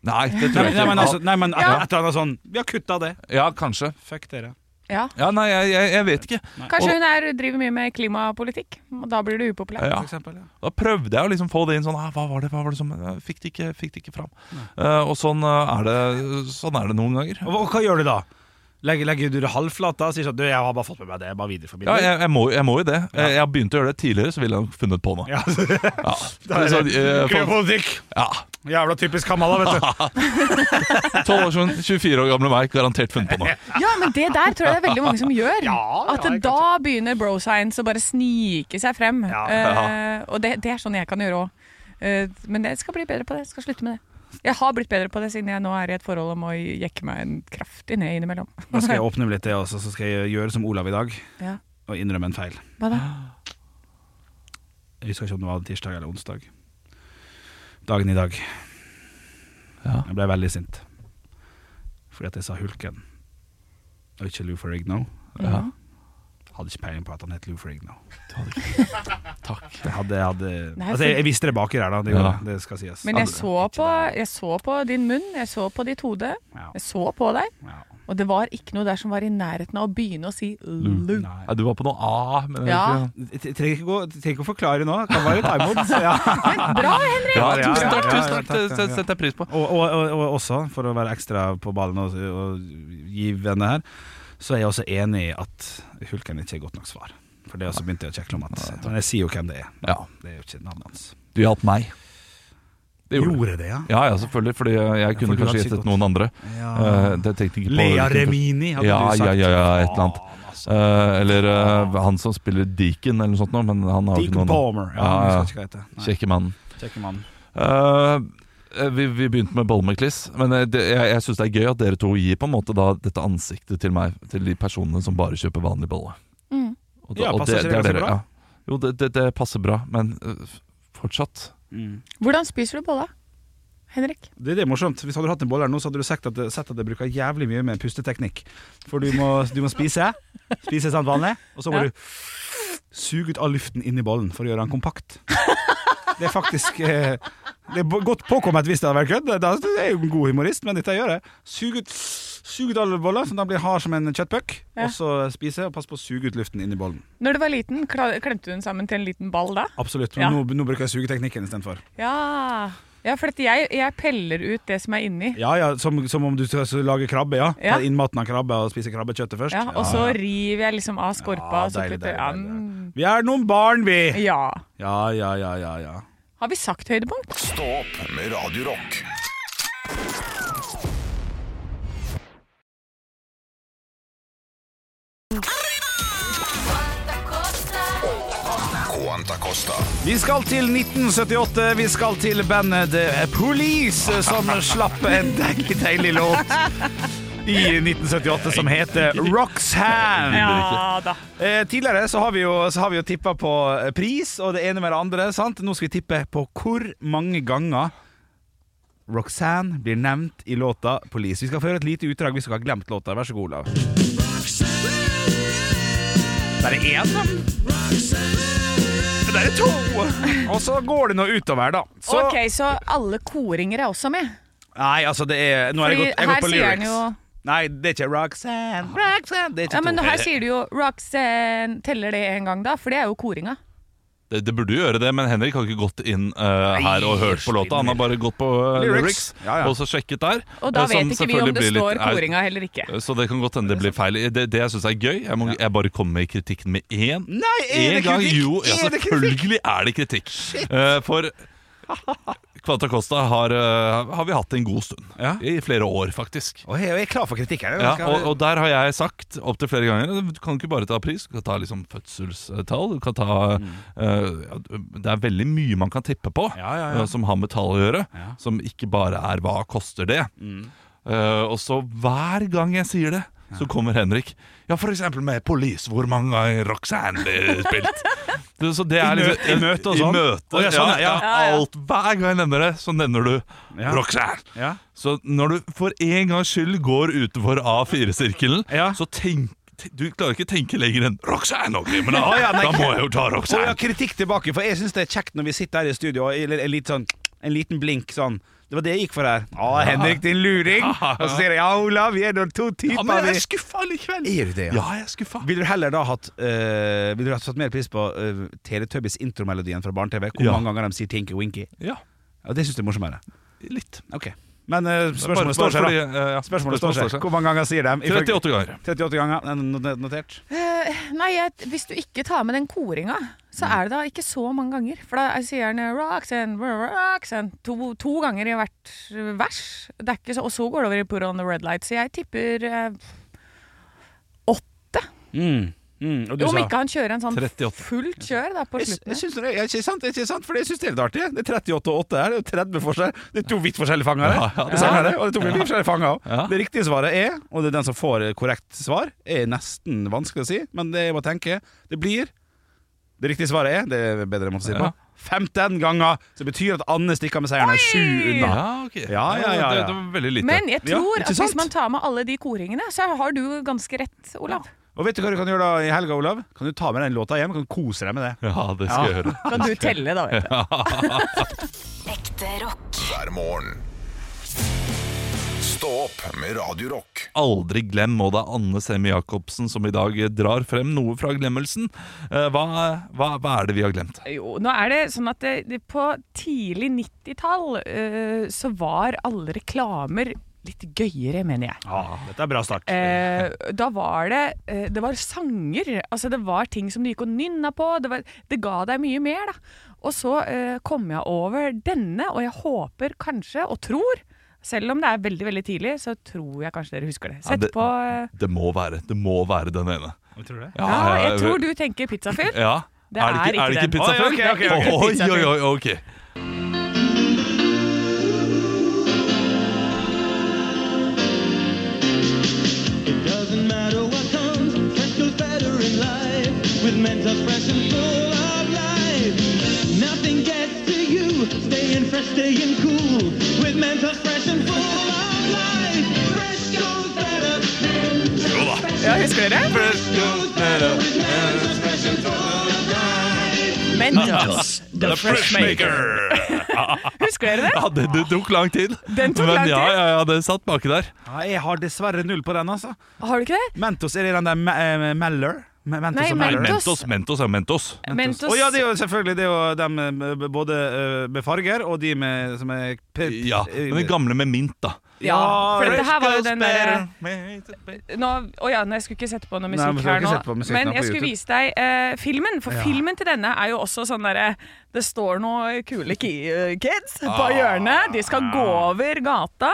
E: Nei, det tror
D: Nei,
E: jeg
D: nei,
E: ikke.
D: men, altså, nei, men et
F: Ja.
D: et eller annet sånn Vi har kutta det.
E: Ja, kanskje.
D: Fuck dere.
F: Ja.
E: Ja, nei, jeg, jeg, jeg vet ikke.
F: Kanskje hun er, driver mye med klimapolitikk, og da blir du upopulær.
E: Ja.
D: For eksempel, ja.
E: Da prøvde jeg å liksom få det inn sånn ah, Hva var det, hva var det som eh, Fikk det ikke, fikk det ikke fram. Eh, og sånn, eh, er det, sånn er det noen ganger.
D: og, hva- og hva gjør du da? Legger, legger du det halvflat da og sier sånn 'Du, jeg har bare fått med meg det. Bare videreformidler'.
E: Ja, jeg, jeg, må, jeg må jo det. Jeg, jeg har begynt å gjøre det tidligere, så ville jeg nok funnet på noe.
D: Ja, så-
E: Ja. Så, eh, for-
D: Klimapolitikk!
E: ja.
D: Jævla typisk Kamala, vet du.
E: 12 år siden, 24 år gamle meg, garantert funnet på noe.
F: Ja, men det der tror jeg det er veldig mange som gjør.
D: Ja,
F: at
D: ja, jeg
F: da begynner bro science å bare snike seg frem. Eh, og det, det er sånn jeg kan gjøre òg. men jeg skal bli bedre på det. Jeg skal slutte med det. Jeg har blitt bedre på det siden jeg nå er i et forhold om å jekke meg en kraftig ned innimellom.
D: Nå skal jeg åpne opp litt det også, så skal jeg gjøre som Olav i dag,
F: Ja.
D: og innrømme en feil.
F: Hva da?
D: Jeg husker ikke om det var tirsdag eller onsdag. Dagen i dag.
E: Ja.
D: Jeg ble veldig sint. Fordi at jeg sa Hulken, og ikke Lou Ferrigno.
E: Ja.
D: Hadde ikke peiling på at han het Lou Ferrigno.
E: Takk.
D: Det hadde, jeg, hadde,
F: Nei,
D: altså, jeg, jeg visste det baki der, da. Det, gjorde
E: Ja.
D: jeg. det skal sies.
F: Men jeg så, på, jeg så på din munn, jeg så på ditt hode,
D: Ja.
F: jeg så på deg,
D: Ja.
F: og det var ikke noe der som var i nærheten av å begynne å si lu.
D: Nei.
E: Ja, du var på noe A, men jeg
F: Ja.
E: vet ikke.
D: Jeg trenger ikke, gå, jeg trenger ikke å forklare nå. Det kan være litt timeout. så Ja.
F: Bra, Henrik!
E: Ja,
D: Ja, ja,
E: tusen takk,
D: ja, ja,
E: tusen takk.
D: takk,
E: Det
D: ja, ja.
E: setter jeg pris på.
D: Og, og, og, og også, for å være ekstra på ballen og, og givende her, så er jeg også enig i at Hulken ikke er godt nok svar. For det også begynte jeg å kjekle om at Men jeg sier jo hvem det er.
E: Ja,
D: Det er jo ikke navnet hans.
E: du hjalp meg. Det gjorde du.
D: det, ja?
E: Ja, ja, selvfølgelig, fordi jeg kunne
D: for du hadde
E: kanskje
D: sittet-
E: gjettet noen andre.
D: ja.
E: Eh, det tenkte jeg ikke på.
D: Lea Remini, hadde
E: Ja,
D: du sagt.
E: ja, ja, ja, et eller annet.
D: Faen, altså.
E: Eh, eller eh, han som spiller Deacon eller noe sånt nå, men han har jo ikke
D: Deacon
E: noen
D: Palmer. Ja,
E: Ja, ja.
D: Jeg husker ikke hva det heter.
E: Kjekke mannen.
D: Nei, Kjekke mann.
E: Eh, eh, vi, vi begynte med bollemekliss, men eh, det, jeg, jeg syns det er gøy at dere to gir på en måte da dette ansiktet til meg, til de personene som bare kjøper vanlig bolle.
F: Mm.
E: Og,
D: Ja, passer ikke det ganske bra?
E: Ja. Jo, det, det, det passer bra, men eh, fortsatt
D: Mm.
F: Hvordan spiser du bolla, Henrik?
D: Det, det er morsomt. Hvis hadde du hatt en bolle her nå, så hadde du sett at, det- sett at jeg bruker jævlig mye med pusteteknikk. For du må, du må spise, spise sant vanlig, og så må
F: Ja.
D: du suge ut all luften inni bollen for å gjøre den kompakt. Det er faktisk eh, Det er bo- godt påkommet hvis det hadde vært kødd. Da- Jeg er jo en god humorist, men dette gjør jeg. Sug ut, sug ut alle boller, så den blir hard som en kjøttpuck.
F: Ja.
D: Og så spise, og pass på å suge ut luften inni bollen.
F: Når du var liten, kla- klemte du den sammen til en liten ball da?
D: Absolutt.
F: Ja.
D: Nå, nå bruker jeg sugeteknikken istedenfor.
F: Ja, ja for at jeg, jeg peller ut det som er inni.
D: Ja ja, som, som om du skal lage krabbe, ja.
F: Ja.
D: Ta innmaten av krabbe og spise krabbekjøttet først.
F: Ja, og så river jeg liksom av
D: Ja,
F: skorpa. og så
D: deilig,
F: putter-
D: deilig, deilig.
F: Mm.
D: Vi er noen barn, vi!
F: Ja.
D: Ja, ja, ja, ja, ja.
F: Har vi sagt høydepunkt?
A: Stå opp med Radio Rock. Quanta Costa.
D: Vi skal til 1978. Vi skal til bandet The Police, som slapp en deilig, deilig låt i 1978 som heter Roxanne.
F: Ja da.
D: Eh, tidligere så har vi jo, så har vi jo tippa på eh, pris og det ene med det andre. sant? Nå skal vi tippe på hvor mange ganger Roxanne blir nevnt i låta 'Police'. Vi skal få høre et lite utdrag hvis dere har glemt låta. Vær så god, Olav. Bare én, da? Det der er to! Og så går det nå utover, da. Så,
F: Ok, så alle koringer er også med.
D: Nei, altså, det er Nå har jeg
F: Fordi
D: gått, jeg har
F: her
D: gått på
F: sier han
D: lyrics.
F: jo-
D: Nei, det er ikke Roxanne, Roxanne Det er ikke
F: Ah. Ja, men
D: to. Eh,
F: her sier du jo Roxanne Teller det en gang, da? For det er jo koringa.
E: Det, det burde jo gjøre det, men Henrik har ikke gått inn eh, her og hørt på låta. Han har bare gått på eh, lyrics,
D: Lyrics. Ja, ja.
E: og så sjekket der.
F: Og da
E: eh, som
F: vet ikke vi om
E: selvfølgelig
F: det
E: blir litt-
F: står
E: Nei,
F: koringa eller ikke.
E: Så det kan godt hende det blir feil. Det, det jeg syns er gøy Jeg, må, jeg bare kommer med kritikken med én.
D: Nei, er det
E: En gang,
D: kritikk?
E: Jo, ja,
D: Er det kritikk?
E: selvfølgelig er det kritikk. Eh, for Kvanta Costa har, eh, har vi hatt en god stund.
D: Ja.
E: I flere år, faktisk.
D: Og jeg jeg er klar for kritikk her.
E: Ja,
D: Skal-
E: og, og der har jeg sagt opptil flere ganger Du kan ikke bare ta pris, du kan ta liksom fødselstall. Du kan ta, eh, ja, det er veldig mye man kan tippe på
D: Mm. Ja, ja, ja.
E: eh, som har med tall å gjøre. Som ikke bare er 'hva koster det'?
D: Mm.
E: Eh, og så hver gang jeg sier det, så kommer Henrik. Ja, f.eks. med Police, hvor mange ganger Roxanne blir spilt. Det- Så det er
D: I mø-
E: liksom,
D: i møte og sånn?
E: I møte,
D: Å, ja,
E: ja,
D: sånn, ja.
E: ja, alt, hver gang jeg nevner det, så nevner du
D: Ja.
E: Roxanne.
D: Ja.
E: Så når du for en gangs skyld går utenfor A4-sirkelen,
D: Ja.
E: så tenk te- du klarer ikke å tenke lenger enn 'Roxanne', ok, men da,
D: Å, ja, nei.
E: da må jeg jo ta
D: Så jeg
E: Roxanne.
D: har kritikk tilbake, for jeg syns det er kjekt når vi sitter her i studio og eller en, litt sånn, en liten blink sånn. Det var det jeg gikk for her. Å, Henrik, din luring! Og så sier jeg ja, Olav, vi er nå to
E: Ja,
D: typer.
E: men jeg
D: vi-
E: er skuffa likevel.
D: Er du det,
E: Ja, jeg er skuffa.
D: Vil du heller da hatt eh, Vil du ha satt mer pris på uh, Teletubbies intromelodien fra Barne-TV? Hvor
E: Ja.
D: mange ganger de sier Tinky Winky?
E: Ja,
D: Ja, det syns jeg er morsommere.
E: litt.
D: Ok Men eh,
E: Bare-
D: spørsmålet
E: bare
D: står seg, da.
E: fordi, eh, ja,
D: Spørsmålet står seg. Hvor mange ganger sier de? Ifølge-
E: 38 ganger.
D: 38 ganger. Eh, not- Notert.
F: Eh, Nei, jeg, hvis du ikke tar med den koringa, så er det da ikke så mange ganger. For da sier han eh, Roxanne, Roxanne to, to ganger i hvert vers. Det er ikke så, og så går det over i Put on the red light. Så jeg tipper eh, åtte.
D: Mm. Mm. Og du
F: Om
D: sa
F: ikke han kjører en sånn
E: 38.
F: fullt kjør da på
D: Jeg, jeg
F: slutten.
D: syns det, er ikke sant, det er ikke sant, for jeg syns det er litt artig. Det er 38 og 8 her, det er jo 30 forskjell. Det er to vidt forskjellige fanger her.
E: Ja, ja,
D: det samme er det, og det er to vidt forskjellige fanger også.
E: Ja.
D: Det riktige svaret er, og det er den som får korrekt svar, er nesten vanskelig å si, men det jeg må tenke, det blir Det riktige svaret er, det er bedre måte å si det på,
E: Ja.
D: 15 ganger! Så det betyr at Anne stikker med seieren her sju unna.
E: Ja, ok.
D: Ja, ja, ja, ja.
E: Det, det var veldig lite.
F: Men jeg
D: Ja,
F: tror
D: ikke
F: at hvis
D: sant?
F: man tar med alle de koringene, så har du ganske rett, Olav.
D: Og vet du hva du kan gjøre da i helga, Olav? Kan du ta med den låta hjem? Kan du kose deg med det?
E: ja, det skal jeg høre.
F: Kan du telle, da, vet du.
G: Ekte rock.
A: hver morgen. Stå opp med Radio Rock.
E: Aldri glem, og det er Anne Semi Jacobsen som i dag drar frem noe fra glemmelsen. Eh, Hva, hva, hva er det vi har glemt?
F: Jo, nå er det sånn at det, det, på tidlig 90-tall eh, så var alle reklamer litt gøyere, mener jeg.
D: Ja, dette er bra start.
F: Eh, da var det eh, Det var sanger. Altså det var ting som du gikk og nynna på. Det, var, det ga deg mye mer, da. Og så eh, kom jeg over denne, og jeg håper kanskje, og tror selv om det er veldig veldig tidlig, så tror jeg kanskje dere husker det.
E: Ja,
F: Sett
E: det-
F: på eh,
E: Det må være, det må være den ene.
D: Tror du det?
F: ja, Jeg tror du tenker pizzafyr.
E: Ja.
F: Det
E: er, det ikke, er
F: er
E: det
F: ikke
E: ikke
F: den.
E: pizza
D: Oi, ok, ok,
E: Oi,
D: ok.
E: oi, oi, ok.
H: It doesn't matter what comes, just goes better in life. With mental fresh and full of life. Nothing gets to you, staying fresh, staying cool. With mental fresh and full of life. Fresh goes better.
F: Ja, husker dere?
H: With mental fresh and full of life.
F: Mentos.
E: The Freshmaker.
F: Husker dere det?
E: Ja, det, det tok lang tid.
F: Den tok
E: Men
F: lang
E: ja,
F: tid.
E: ja, ja, det satt baki der.
D: Ja, jeg har dessverre null på den, altså.
F: Har du ikke det?
D: Mentos, er det den der me eh, Meller? Me- Mentos
F: Nei,
D: og
E: Nei,
D: Meller.
F: Mentos.
E: Mentos, Mentos er Mentos.
F: Mentos.
D: Å ja, det er jo selvfølgelig det er jo dem eh, b- både eh, med farger og de med, som er p- p-
E: Ja, men den gamle med mint, da.
F: Ja, for dette her var jo den eh, derre
E: der
F: nå, å ja, nei, jeg skulle ikke sette på noe
D: Nei, men du
F: musikk her
D: skal
F: nå.
D: ikke sette på musikk
F: Men
D: nå på
F: jeg skulle
D: YouTube.
F: vise deg eh, filmen, for filmen til denne er jo også sånn derre Det står noen kule ki kids
D: Ah.
F: på hjørnet, de skal gå over gata.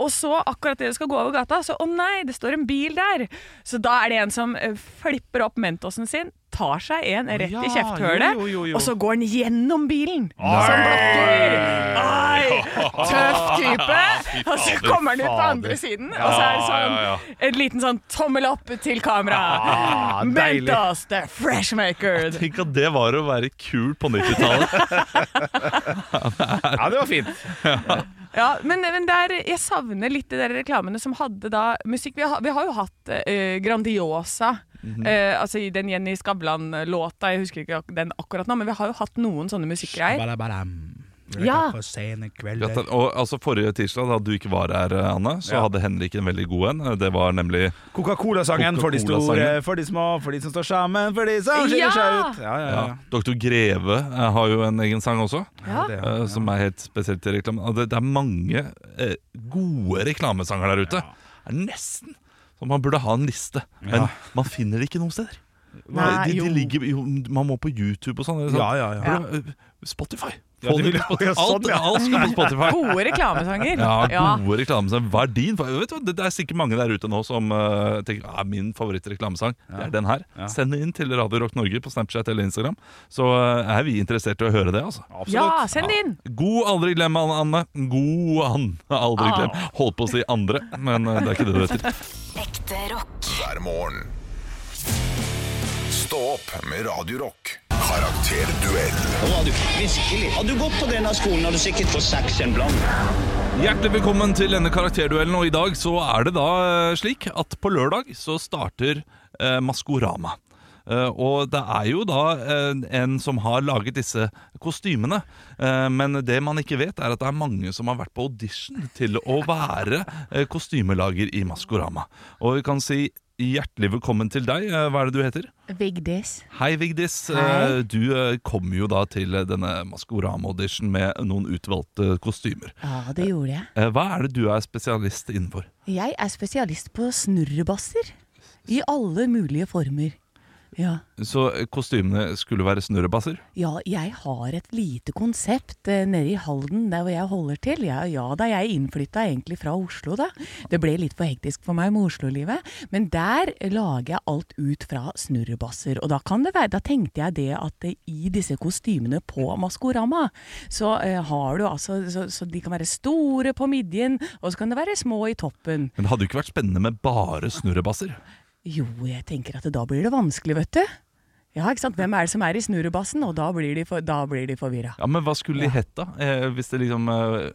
F: Og så, akkurat det de skal gå over gata, så å nei, det står en bil der. Så da er det en som eh, flipper opp Mentosen sin, tar seg en rett
D: Ja,
F: i kjefthølet,
D: jo, jo, jo, jo.
F: og så går han gjennom bilen som blokker. Oi, tøff type. Og så kommer han ut på andre siden, og så er det sånn
E: Ja, ja,
F: en liten sånn tommel opp til kamera.
D: Ah, deilig.
F: Mentos, the freshmaker.
E: Tenk at det var å være kul på 90-tallet.
D: Ja, det var fint.
F: Ja, men, men der, jeg savner litt de der reklamene som hadde da musikk. Vi har, vi har jo hatt eh, Grandiosa Eh, altså I den Jenny Skavlan-låta, jeg husker ikke ak- den akkurat nå, men vi har jo hatt noen sånne musikkgreier.
D: Badabadam.
F: Ja.
D: På sene kvelder.
E: Gratulerer. Og altså Forrige tirsdag, da du ikke var her, eh, Anne, så
D: Ja.
E: hadde Henrik en veldig god en. Det var nemlig
D: Coca-Cola-sangen for de store,
E: Coca-Cola-sangen.
D: for de små, for de som står sammen, for de som skiller
F: Ja!
D: seg ut. Ja, ja,
E: ja.
D: ja.
E: Dr. Greve eh, har jo en egen sang også,
F: Ja.
D: Det,
E: eh, som er helt spesielt til reklame. Og Det, det er mange eh, gode reklamesanger der ute. Det er nesten så man burde ha en liste, men
D: Ja.
E: man finner det ikke noen steder.
F: Nei,
E: de, de
F: jo.
E: ligger, jo, man må på YouTube og sånn. eller sånn.
D: ja, ja, ja.
E: Bra, eh, Spotify.
D: Ja,
E: Få
D: du
E: det
D: vil-
E: ut på-
D: ja, sånn,
E: Alt,
D: ja.
E: alt skal på Spotify.
F: Gode reklamesanger.
E: Ja, gode reklamesanger. Hva er din? fa- Vet du, hva, det det er sikkert mange der ute nå som eh, tenker at min favorittreklamesang det er den her.
D: Ja.
E: Send det inn til Radio Rock Norge på Snapchat eller Instagram, så eh, er vi interessert i å høre det. altså
F: Ja, send det inn!
E: God aldri glem, Anne. Anne. God an, aldri glem. Holdt på å si andre, men eh, det er ikke det det heter.
G: Ekte rock.
A: hver morgen. Stå opp med Radio Rock. Karakterduell
E: Hjertelig velkommen til denne karakterduellen, og i dag så er det da eh, slik at på lørdag så starter eh, Maskorama. Eh, og det er jo da eh, en som har laget disse kostymene. Eh, men det man ikke vet, er at det er mange som har vært på audition til å være eh, kostymelager i Maskorama. Og vi kan si hjertelig velkommen til deg. Eh, hva er det du heter?
F: Vigdis.
E: Hei, Vigdis.
F: Hei.
E: Eh, Du eh, kom jo da til eh, denne Maskorama-audition med noen utvalgte kostymer.
F: Ja, det gjorde jeg.
E: Eh, Hva er det du er spesialist innenfor?
F: Jeg er spesialist på snurrebasser. I alle mulige former. Ja.
E: Så eh, kostymene skulle være snurrebasser?
F: Ja, jeg har et lite konsept eh, nede i Halden, der hvor jeg holder til. Ja, ja da, jeg innflytta egentlig fra Oslo, da. Det ble litt for hektisk for meg med Oslo-livet. Men der lager jeg alt ut fra snurrebasser. Og da kan det være, da tenkte jeg det at eh, i disse kostymene på Maskorama, så eh, har du altså så, så de kan være store på midjen, og så kan det være små i toppen.
E: Men det hadde jo ikke vært spennende med bare snurrebasser.
F: Jo, jeg tenker at da blir det vanskelig, vet du. Ja, ikke sant. Hvem er det som er i snurrebassen? Og da blir de, for, da blir de forvirra.
E: Ja, Men hva skulle de hett, da? Eh, Hvis det liksom eh,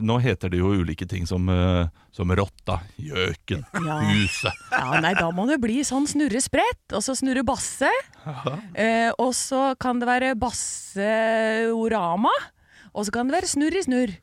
E: Nå heter det jo ulike ting som, eh, som rotta, gjøken,
F: Ja.
E: huset.
F: Ja, nei, da må det bli sånn snurre sprett, og så snurre basse. Eh, og så kan det være basseorama, og så kan det være snurr i snurr.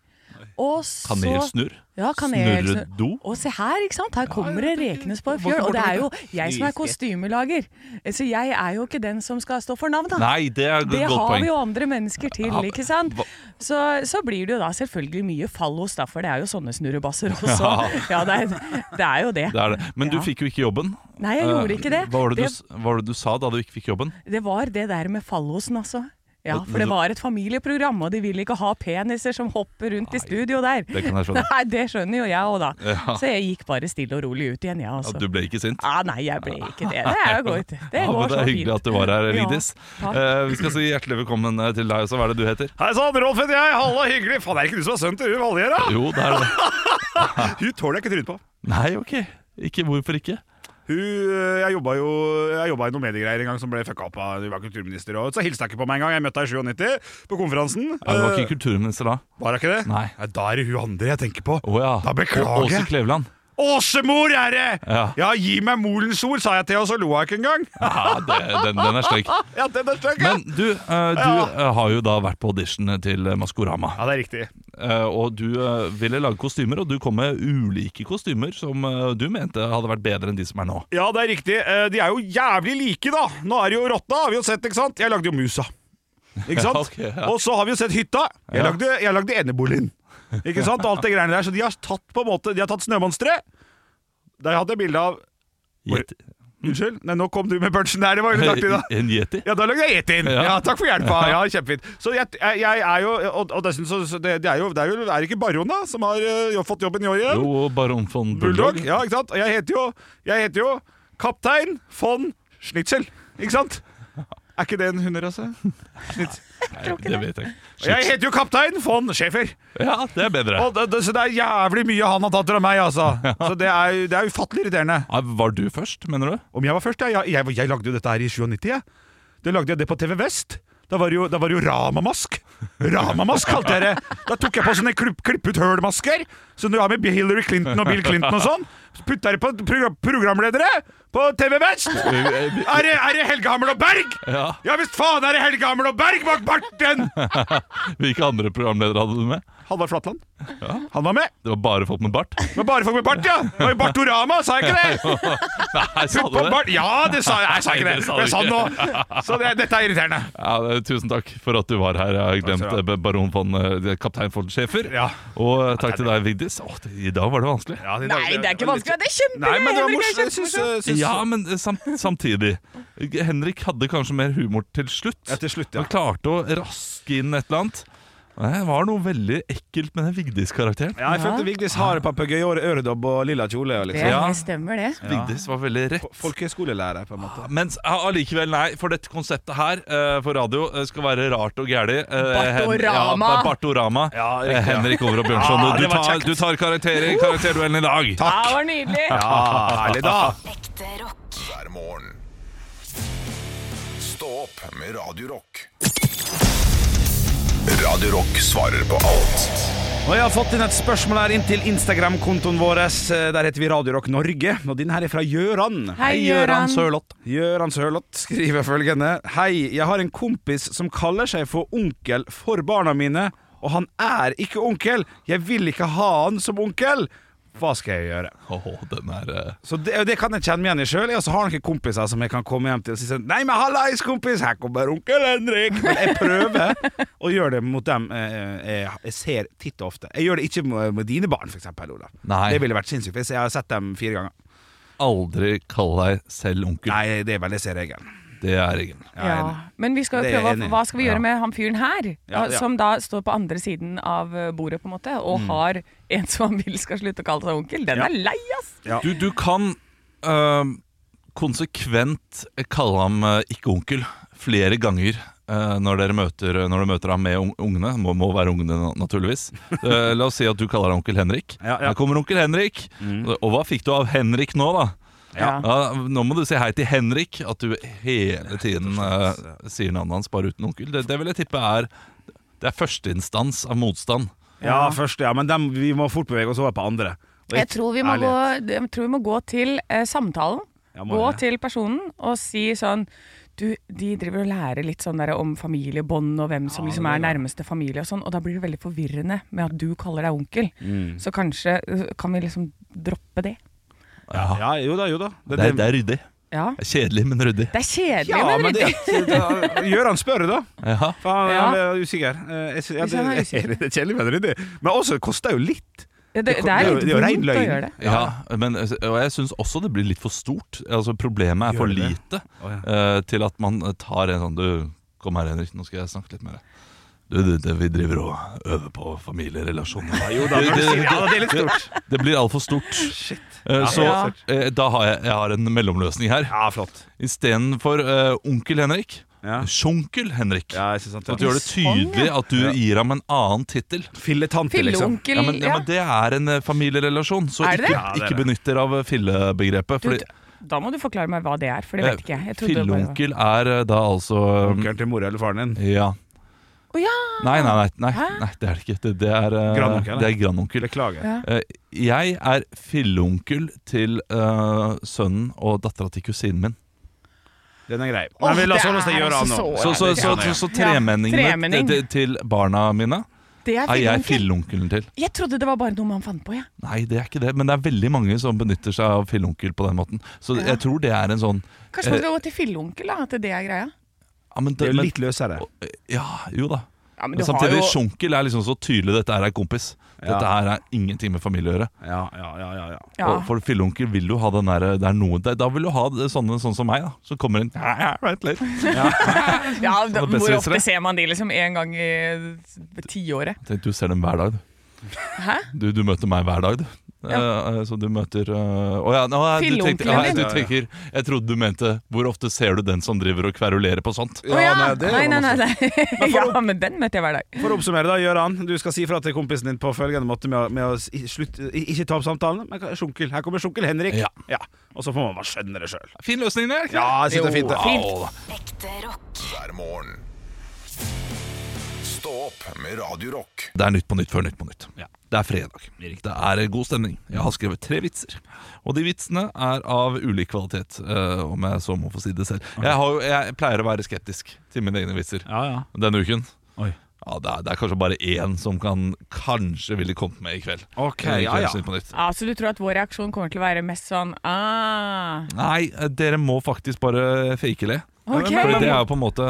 F: Og så
E: Kanelsnurr.
F: Ja, kanelsnurr.
E: Snurredo.
F: Og se her, ikke sant? Her kommer det rekenes på en fjøl. Og det er jo jeg som er kostymelager, Eh, så jeg er jo ikke den som skal stå for navn, da.
E: Nei, det er et
F: Ah, Det
E: godt
F: har vi
E: poeng.
F: jo andre mennesker til,
E: Ja,
F: ikke sant?
E: hva-
F: Så, så blir det jo da selvfølgelig mye fallos, da, for det er jo sånne snurrebasser også. Ja, det er, det er jo det.
E: Det er det. Men du
F: Ja.
E: fikk jo ikke jobben.
F: Nei, jeg gjorde
E: Eh,
F: ikke det.
E: Hva var det,
F: Det-
E: Du, s- hva var det du sa da du ikke fikk jobben?
F: Det var det der med fallosen, altså. Ja, for
E: Men
F: det
E: du-
F: var et familieprogram, og de ville ikke ha peniser som hopper rundt i studio der.
E: det kan jeg skjønne.
F: Nei, det skjønner jo jeg òg, da.
E: Ja.
F: Så jeg gikk bare stille og rolig ut igjen, jeg,
E: Ja,
F: altså.
E: du ble ikke sint?
F: ah, nei, jeg ble ikke det. Det er jo godt. Det
E: ja,
F: går
E: men det
F: så
E: er
F: fint.
E: hyggelig at du var her,
F: Ja,
E: Vigdis.
F: takk.
E: Eh, vi skal si hjertelig velkommen eh, til deg. Så hva er det du heter?
D: Hei sann, Rolf heter jeg. Halla, hyggelig. Faen, er det ikke du som er sønnen til hun Valgjerd, da?
E: Jo, det er det.
D: Hun tåler jeg ikke trynet på.
E: Nei, ok. Ikke hvorfor ikke?
D: Hun, øh, jeg jobba jo Jeg jobbet i noen mediegreier en gang som ble fucka opp av hun var kulturminister. Og så hilste jeg ikke på meg en gang. Jeg møtte henne i 97 på konferansen.
E: Ja, du var
D: Eh,
E: ikke kulturminister da?
D: var jeg ikke det?
E: Nei.
D: Da er det hun andre jeg tenker på.
E: Å ja.
D: Da beklager
E: Å- Åse
D: jeg.
E: Kleveland.
D: Åsemor er det!
E: Ja.
D: gi meg Molens ord, sa jeg til henne, og så lo hun ikke engang.
E: Ja, det, den, den er stygg.
D: Ja, den er stygg, ja.
E: Men du, eh, du eh, har jo da vært på audition til eh, Maskorama.
D: ja, det er riktig.
E: Eh, og du eh, ville lage kostymer, og du kom med ulike kostymer som eh, du mente hadde vært bedre enn de som er nå.
D: Ja, det er riktig. Eh, De er jo jævlig like, da. Nå er det jo rotta, har vi jo sett, ikke sant? Jeg lagde jo musa. Ikke sant?
E: Ja, ok, ja.
D: Og så har vi jo sett hytta. Jeg
E: Ja.
D: lagde, jeg lagde eneboligen. Ikke sant? Og alt det greiene der. Så de har tatt på en måte De har tatt snømonsteret. Der hadde jeg bilde av
E: Yeti.
D: Unnskyld, nei, nå kom du med punchen der. Det var veldig artig, da.
E: En yeti?
D: Ja, da lagde jeg Etin!
E: Ja.
D: Ja. takk for hjelpa. Ja, kjempefint. Så jeg, jeg, jeg er jo Og, og dessuten, så, så det, det er jo Det er jo er det ikke Baron, da, som har eh, jo fått jobben i år igjen?
E: Jo, baron von
D: Bulldog.
E: Bulldog.
D: Ja, ikke sant? Og jeg heter jo, jeg heter jo kaptein von Schnitzel. Ikke sant? Er ikke det en hunderase? Schnitz-
E: Nei, det vet jeg ikke.
D: Og Jeg heter jo kaptein von Schäfer.
E: Ja, det er bedre.
D: Og det, det, så det er jævlig mye han har tatt fra meg, altså. Så det er, det er ufattelig irriterende.
E: Ja, Var du først, mener du?
D: Om jeg var først, ja. Jeg, jeg, jeg lagde jo dette her i 97, jeg. Da lagde jeg det på TV Vest. Da var det jo, da var det jo Ramamask. Ramamask kalte jeg det. Da tok jeg på sånne klipp, klipp ut høl-masker, som du har med Hillary Clinton og Bill Clinton og sånn. Putt dere på program programledere på TV Vest! Er det, er det Helge Hammer og Berg?
E: Ja.
D: visst faen er det Helge Hammer og Berg bak barten!
E: Hvilke andre programledere hadde du med?
D: Halvard Flatland. Han var med.
E: Det var bare folk med bart?
D: Men bare folk med bart, ja. Det var jo Bartorama, sa jeg ikke det?
E: Nei, sa
D: Putt
E: du
D: på
E: det?
D: bart. Ja, det sa jeg. Nei, jeg sa ikke
E: Nei,
D: det.
E: det sa du
D: Men jeg sa det
E: ikke.
D: nå. Så det, dette er irriterende.
E: Ja, det- tusen takk for at du var her. Jeg har glemt
D: Takk skal du
E: eh, baron von eh, kaptein von Schäfer.
D: Ja.
E: Og eh, takk til deg, Vigdis. Åh, det, I dag var det vanskelig.
D: Ja,
F: Nei, det er ikke vanskelig. Det er kjempegøy!
D: Nei, men det var
F: Henrik,
D: morsomt.
F: det er
D: Jeg syns,
F: kjempemorsomt.
D: jeg syns-
E: Ja, men eh, sam samtidig. Henrik hadde kanskje mer humor til slutt.
D: Ja, til slutt, ja.
E: Han klarte å raske inn et eller annet. Det var noe veldig ekkelt med den Vigdis-karakteren.
D: Ja, jeg følte Vigdis har papegøye, øre- øredobb og lilla kjole.
F: Det
D: Liksom.
F: stemmer, det.
E: Vigdis var veldig rett.
D: Folkeskolelærer, på en måte.
E: Men s- ja, allikevel, nei. For dette konseptet her eh, for radio eh, skal være rart og gæli. Eh, Hen- Ja,
F: Bartorama.
E: ba- Bartorama.
D: Ja,
E: Eh,
D: riktig, ja.
E: Henrik Over og Bjørnson.
D: Ja,
E: du,
D: det var
E: tar,
D: kjekt.
E: du tar karakterer i karakterduellen i dag.
F: Ja, det var nydelig.
D: Ja, herlig da!
G: Ekte rock.
A: hver morgen. Stå opp med Radio Rock. Radio Rock svarer på alt
D: Og Jeg har fått inn et spørsmål her inn til Instagram-kontoen vår. Eh, Der heter vi Radio Rock Norge. Og din her er fra Gjøran.
F: Hei, Gjøran.
E: Sørloth.
D: Gjøran Sørloth skriver følgende. Hei, jeg har en kompis som kaller seg for onkel for barna mine, og han er ikke onkel. Jeg vil ikke ha han som onkel. Hva skal jeg gjøre?
E: Åh, den er eh,
D: Så det, og det kan jeg kjenne meg igjen i sjøl. Jeg også har noen kompiser som jeg kan komme hjem til og si sånn Nei, men hallais, kompis! Her kommer onkel Henrik! Men jeg prøver å gjøre det mot dem eh, jeg, jeg ser titt og ofte. Jeg gjør det ikke med, med dine barn, f.eks., Olav.
E: Nei.
D: Det ville vært sinnssykt hvis jeg har sett dem fire ganger.
E: Aldri kall deg selv onkel.
D: Nei, det er vel det ser jeg igjen.
E: Det er regelen.
D: Jeg er
F: Ja.
D: enig.
F: Men vi skal
D: Det
F: jo
D: er jeg
F: prøve
D: enig i.
F: å- hva skal vi
E: Ja.
F: gjøre med han fyren her,
D: Ja, ja. Mm.
F: som da står på andre siden av eh, bordet, på en måte, og har en som han vil skal slutte å kalle seg onkel. Den
D: Ja.
F: er lei, ass!
D: Ja.
E: Du, du kan øhm, konsekvent kalle ham øh, ikke onkel flere ganger øh, når, dere møter, når du møter ham med un- ungene. Må, må være ungene, na- naturligvis. Eh, la oss si at du kaller ham onkel Henrik.
D: Ja, ja. Mm.
E: Her kommer onkel Henrik. Og hva fikk du av Henrik nå, da?
D: Ja.
E: Ja, nå må du si hei til Henrik. At du hele tiden eh, sier navnet hans bare uten onkel. Det, det vil jeg tippe er Det er førsteinstans av motstand.
D: ja, først, ja. Men dem, vi må fort bevege oss over på andre. Og
F: Jeg
D: ikke-
F: tror vi må, gå,
D: ærlighet.
F: jeg tror vi må gå til eh, samtalen.
D: Ja, må
F: Gå
D: det.
F: til personen og si sånn du, De driver og lærer litt sånn der om familiebånd og hvem som liksom er nærmeste familie og sånn, og da blir det veldig forvirrende med at du kaller deg onkel.
D: Mm.
F: Så kanskje eh, kan vi liksom droppe det.
D: Ja, jo da, jo da. Det-
E: Det, er- det er ryddig.
F: Ja.
E: Det er Kjedelig, men ryddig.
F: Det er kjedelig,
D: ja,
F: men
D: men det,
F: ryddig.
D: da- Gjøran spør, da.
E: Ja.
D: For han
F: Ja.
D: han er usikker. Eh, Jeg, sy- ja,
F: Hvis han er
D: det,
F: usikker.
D: det er kjedelig, men det er ryddig. Men også, det koster jo litt.
F: Det, det,
D: det-
F: det er
D: det er jo-
F: litt
D: det er jo ren
F: vondt å
D: løgn.
F: gjøre det.
E: Ja, men, eh, og jeg syns også det blir litt for stort. Altså Problemet er for
D: Gjør det?
E: lite
D: Å,
E: eh, til at man tar en sånn Du, kom her, Henrik, nå skal jeg snakke litt med deg. Du, du, du, vi driver og øver på familierelasjoner.
D: når du
E: det,
D: sier- ja, det er litt stort.
E: det, det blir altfor stort. Eh, Så
F: Ja.
E: eh, da har jeg, jeg har en mellomløsning her.
D: Ja, flott.
E: Istedenfor uh, onkel Henrik,
D: Ja.
E: sjunkel Henrik.
D: Ja, jeg synes sant,
E: Så At du
D: ja.
E: gjør det tydelig at du
D: Ja.
E: gir ham en annen tittel.
D: Filletante, liksom.
F: Filleonkel
E: Ja men, ja, men det er en eh, familierelasjon, så
F: Er det
E: ikke,
F: det?
D: Ja, det er
E: ikke
D: det.
E: benytt dere av eh, fillebegrepet.
F: Du,
E: Fordi,
F: Da må du forklare meg hva det er, for det vet ikke jeg. jeg trodde det bare var-
E: Filleonkel er eh, da altså eh,
D: Onkelen til mora eller faren din.
E: Ja.
F: Å ja!
E: Nei, nei, nei, nei,
F: Hæ?
E: nei, det er det ikke. Det, det er eh,
D: Grandonkel,
E: Det er grandonkel.
D: Beklager.
F: Ja.
E: Eh, Jeg er filleonkel til eh, sønnen og dattera til kusinen min.
D: Den er grei.
F: Åh,
D: Men vi sånn la oss
F: det
D: holde oss til
F: er
D: Gjøran
F: altså
D: nå.
F: så-
E: Så, så, så, så, så tremenningene
F: Ja, tremenning.
E: til, til barna mine
F: Det er
E: er jeg
F: filleonkel.
E: filleonkelen til.
F: Jeg trodde det var bare noe man fant på, jeg.
E: Nei, det er ikke det, men det er veldig mange som benytter seg av filleonkel på den måten. Så
F: Ja.
E: jeg tror det er en sånn
F: Kanskje man skal gå til filleonkel, da? At det er greia?
E: ja, men,
D: Det er jo
E: men-
D: litt løsere.
E: Ja, jo da.
F: Ja, men
E: Men sånn
F: du har
E: samtidig,
F: jo
E: sjunkel er liksom så tydelig. Dette her er kompis. Dette
D: Ja.
E: her er ingenting med familie å gjøre.
D: Ja, ja, ja, ja, ja.
F: ja.
E: Og for filleonkel vil du ha den der, det er noe, det- Da vil du ha det, sånne sånn som meg, da. Som kommer inn ja, ja, right, litt.
F: ja, da,
E: best
F: Hvor
E: visere.
F: ofte ser man de liksom en gang i tiåret?
E: Tenk, du ser dem hver dag, du.
F: Hæ?
E: Du, du møter meg hver dag, du. Eh, eh, så du møter eh, Å ja, nå, ja, du tenkte, ja,
F: Filleonkelen
E: du
D: din.
E: tenker Jeg trodde du mente Hvor ofte ser du den som driver og kverulerer på sånt?
F: Å ja!
D: nei, det
F: Nei,
D: gjør
F: nei,
D: man
F: nei.
D: også.
F: nei. Ja, men den møter jeg hver dag.
D: For å oppsummere, da, Gjøran. Du skal si fra til kompisen din på følgende måte med å, med å i- slutt, i- ikke ta opp samtalen. Men hva- sjunkel. Her kommer sjunkel Henrik.
E: Ja.
D: Og så får man bare skjønne det sjøl.
E: Fin løsning, det. er ikke
D: Ja, jeg synes det er fint.
F: Jo,
D: det.
F: fint.
G: Ekte rock.
A: hver morgen. Stå opp med Radio Rock.
E: Det er Nytt på Nytt før Nytt på Nytt. Det er fredag. Det er god stemning. Jeg har skrevet tre vitser. Og de vitsene er av ulik kvalitet, eh, om jeg så må få si det selv. Jeg, har, jo- jeg pleier å være skeptisk til mine egne vitser
D: Ja, ja.
E: denne uken.
D: Oi.
E: Ja, det, er, det er kanskje bare én som kan kanskje ville kommet med i kveld.
D: Ok,
E: Eh, i
D: ja, ja.
E: Kveldsnytt på nytt.
F: Ja, Så du tror at vår reaksjon kommer til å være mest sånn ah,
E: Nei, eh, dere må faktisk bare fake le.
F: OK.
D: Men-
E: For
D: men-
E: det er jo på en måte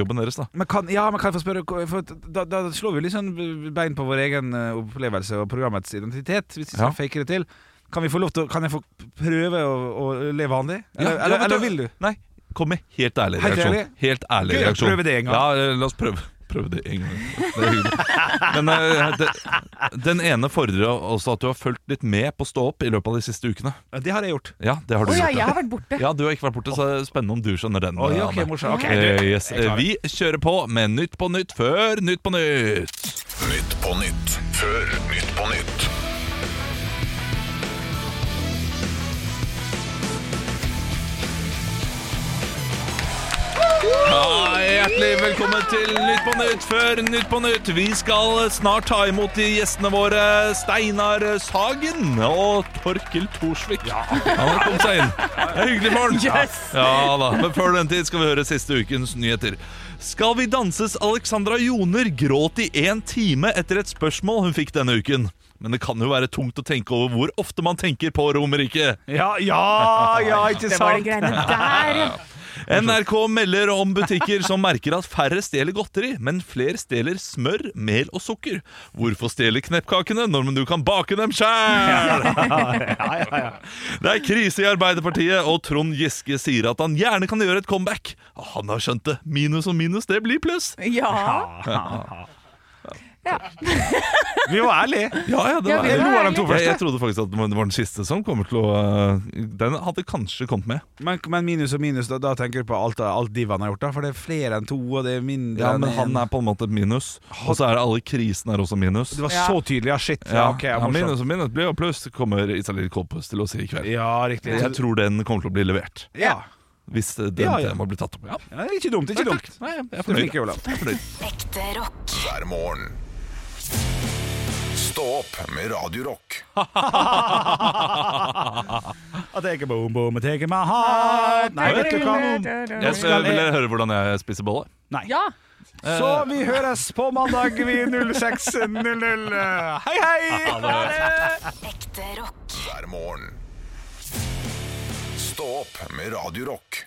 E: jobben deres, da.
D: Men kan, ja, men kan jeg få spørre hva- for da, da slår vi litt sånn bein på vår egen eh, opplevelse og programmets identitet, hvis vi skal
E: Ja.
D: fake det til. Kan, vi få lov til, å- kan jeg få prøve å, å leve vanlig? Eller,
E: Ja, ja,
D: eller,
E: vet
D: eller vil du?
E: Nei, kom med helt ærlig
D: Helt
E: reaksjon.
D: ærlig?
E: Helt ærlig
D: Gøy,
E: reaksjon.
D: prøve det en gang.
E: Ja, eh, la oss prøve. Prøve det en gang. Det er hyggelig. Men eh, det, den ene fordrer også at du har fulgt litt med på Stå opp i løpet av de siste ukene.
D: Ja, det har jeg gjort.
E: Ja, det har
F: Å
E: du
F: ja,
E: gjort.
F: jeg
E: ja.
F: har vært borte.
E: Ja, du har ikke vært borte, så det er spennende om du skjønner den.
D: Oi, ok,
E: Anne.
D: morsomt. Ok,
E: Eh,
D: du,
E: yes.
D: jeg klarer
E: Vi kjører på med Nytt på Nytt før Nytt på Nytt.
A: Nytt på nytt før Nytt på nytt.
E: Ja, hjertelig velkommen til Nytt på Nytt før Nytt på Nytt. Vi skal snart ta imot de gjestene våre Steinar Sagen og Torkil Thorsvik. Ja, han kom seg inn. Det er hyggelig morgen.
F: Yes.
E: Ja da, Men før den tid skal vi høre siste ukens nyheter. Skal vi danses Alexandra Joner gråt i én time etter et spørsmål hun fikk denne uken? Men det kan jo være tungt å tenke over hvor ofte man tenker på Romerike.
D: Ja, ja, ja ikke
F: Det var de
D: sant?
F: greiene der, ja.
E: NRK melder om butikker som merker at færre stjeler godteri, men flere stjeler smør, mel og sukker. Hvorfor stjele kneppkakene når du kan bake dem sjæl? Det er krise i Arbeiderpartiet, og Trond Giske sier at han gjerne kan gjøre et comeback. Han har skjønt det. Minus og minus, det blir pluss.
F: Ja.
D: Vi var ærlige.
E: Ja, ja, det var
F: Ja, vi
E: det.
F: var
D: ærlige.
E: Jeg, jeg trodde faktisk at det var den siste som kommer til å øh, Den hadde kanskje kommet med.
D: Men, men minus og minus, da, da tenker du på alt, alt divaen har gjort, da? For det er flere enn to, og det er mindre
E: Ja,
D: enn
E: Men han
D: en.
E: er på en måte et minus, og så er det alle krisene er også minus.
D: Det var
F: Ja.
D: så tydelig, ja. Shit. Ja,
E: Ja,
D: ok, ja,
E: ja, minus
D: morsomt.
E: og minus blir jo pluss, kommer Isalill Kolpus til å si i kveld.
D: ja riktig.
E: Jeg tror den kommer til å bli levert,
D: ja.
E: hvis eh, den
D: Ja, ja.
E: temaet blir tatt opp. Ja.
D: ja, Ikke dumt, ikke dumt.
E: Nei, jeg er
D: Du er
E: fornøyd.
D: flink, Olav.
E: Jeg er fornøyd.
G: Ekte rock.
A: hver morgen. Stå opp med Radio Rock.
D: I take a boom boom, I take my heart Nei, vet du hva
E: Jeg skal, vil dere høre hvordan jeg spiser bolle?
D: Nei.
F: Ja.
D: Så vi høres på mandag vi 06.00 Hei hei
G: Ekte rock.
A: Hver morgen. Stå opp med Radio Rock.